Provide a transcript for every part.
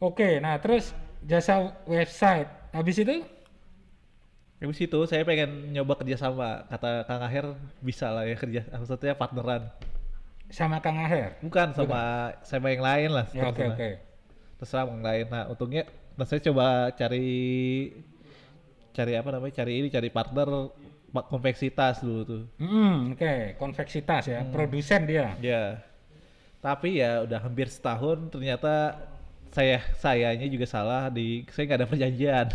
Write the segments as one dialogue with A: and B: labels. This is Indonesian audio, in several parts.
A: Oke, nah terus jasa website. Habis itu
B: Ya, Habis itu saya pengen nyoba kerjasama. Kata Kang Aher bisa lah ya kerja. Maksudnya partneran.
A: sama Kang Aher.
B: Bukan sama sama yang lain lah.
A: Ya oke
B: terserah.
A: oke.
B: Terserah sama yang lain. Nah untungnya, nah saya coba cari cari apa namanya? Cari ini, cari partner ma- kompleksitas dulu tuh.
A: Hmm, oke, konveksitas ya, produsen dia.
B: Ya. Tapi ya udah hampir setahun ternyata saya sayanya juga salah di saya nggak ada perjanjian.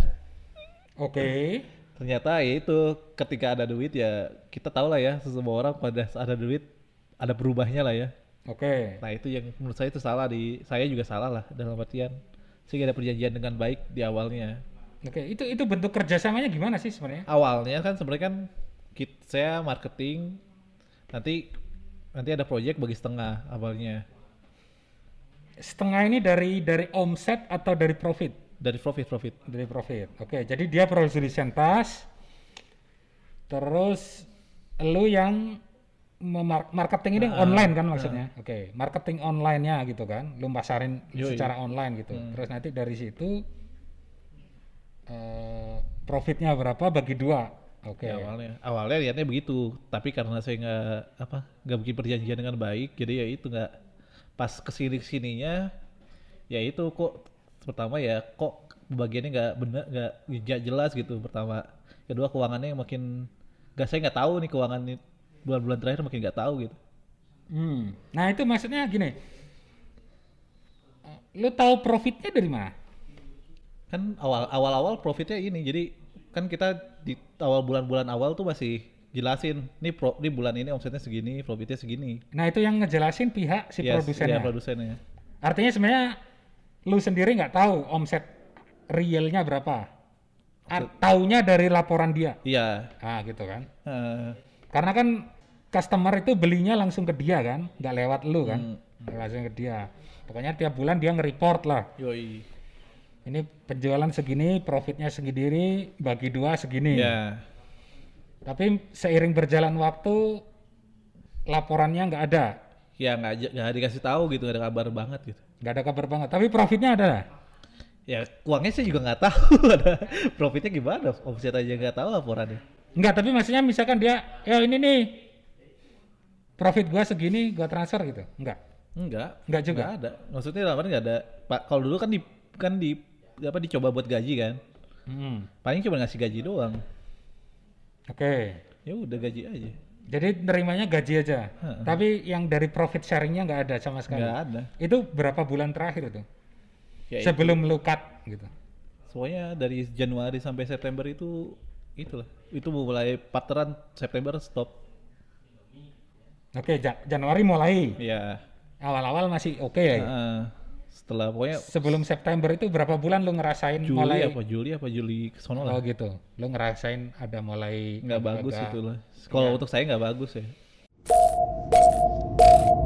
A: Oke.
B: Ternyata ya itu ketika ada duit ya kita tahu lah ya semua orang pada saat ada duit ada berubahnya lah ya.
A: Oke.
B: Nah itu yang menurut saya itu salah di saya juga salah lah dalam artian saya nggak ada perjanjian dengan baik di awalnya.
A: Oke, itu itu bentuk kerjasamanya gimana sih sebenarnya?
B: Awalnya kan sebenarnya kan kit- saya marketing nanti nanti ada project bagi setengah awalnya
A: Setengah ini dari dari omset atau dari profit?
B: dari profit profit.
A: Dari profit. Oke, jadi dia produsen tas. Terus lu yang memar- marketing ini online kan maksudnya? Oke, marketing online-nya gitu kan. Lu pasarin
B: Yoi. Hmm.
A: secara online gitu. Terus nanti dari situ eh profitnya berapa bagi dua. Oke.
B: Di Ya, awalnya awalnya lihatnya begitu tapi karena saya nggak apa nggak bikin perjanjian dengan baik jadi ya itu nggak pas kesini kesininya ya itu kok pertama ya kok bagiannya nggak benar nggak nggak jelas gitu pertama kedua keuangannya yang makin nggak saya nggak tahu nih keuangan ini bulan-bulan terakhir makin nggak tahu gitu
A: Hmm. Nah itu maksudnya gini, Eh, lu tahu profitnya dari mana?
B: kan awal awal awal profitnya ini jadi kan kita di awal bulan-bulan awal tuh masih jelasin nih pro nih bulan ini omsetnya segini profitnya segini
A: Nah itu yang ngejelasin pihak si
B: Yes,
A: produsennya.
B: iya, produsennya
A: Artinya sebenarnya lu sendiri nggak tahu omset realnya berapa. A- Taunya dari laporan dia.
B: iya
A: Ah gitu kan.
B: Eh,
A: Karena kan customer itu belinya langsung ke dia kan, nggak lewat lu kan, langsung ke dia. Pokoknya tiap bulan dia nge-report lah.
B: Yoi.
A: Ini penjualan segini, profitnya segini, bagi dua segini.
B: Ya.
A: Tapi seiring berjalan waktu laporannya nggak ada,
B: Ya nggak aja- nggak dikasih tahu gitu, nggak ada kabar banget gitu.
A: nggak ada kabar banget. Tapi profitnya ada.
B: Ya uangnya saya juga nggak tahu ada profitnya gimana. Omset aja nggak tahu laporannya.
A: Nggak, tapi maksudnya misalkan dia, ya ini nih profit gua segini, gua transfer gitu. Nggak.
B: Enggak.
A: Nggak juga?
B: Nggak ada. Maksudnya laporan nggak ada. Pak kalau dulu kan di kan di apa dicoba buat gaji kan.
A: Hmm,
B: Paling cuma ngasih gaji doang.
A: Oke.
B: Ya udah gaji aja.
A: Jadi nerimanya gaji aja. Tapi yang dari profit sharingnya nggak ada sama sekali.
B: Nggak ada.
A: Itu berapa bulan terakhir itu?
B: Ya itu.
A: Sebelum lu cut gitu.
B: Soalnya dari Januari sampai September itu itulah. Itu mulai partneran September stop.
A: Oke, Ja- Januari mulai.
B: Ya.
A: Awal-awal masih oke ya.
B: Heeh. setelah pokoknya
A: Sebelum September itu berapa bulan lu ngerasain
B: Juli
A: mulai
B: apa Juli apa Juli kesono lah.
A: Oh gitu. Lo ngerasain ada mulai
B: nggak bagus
A: agak- Iya.
B: gitu lah. Kalau untuk saya nggak bagus ya.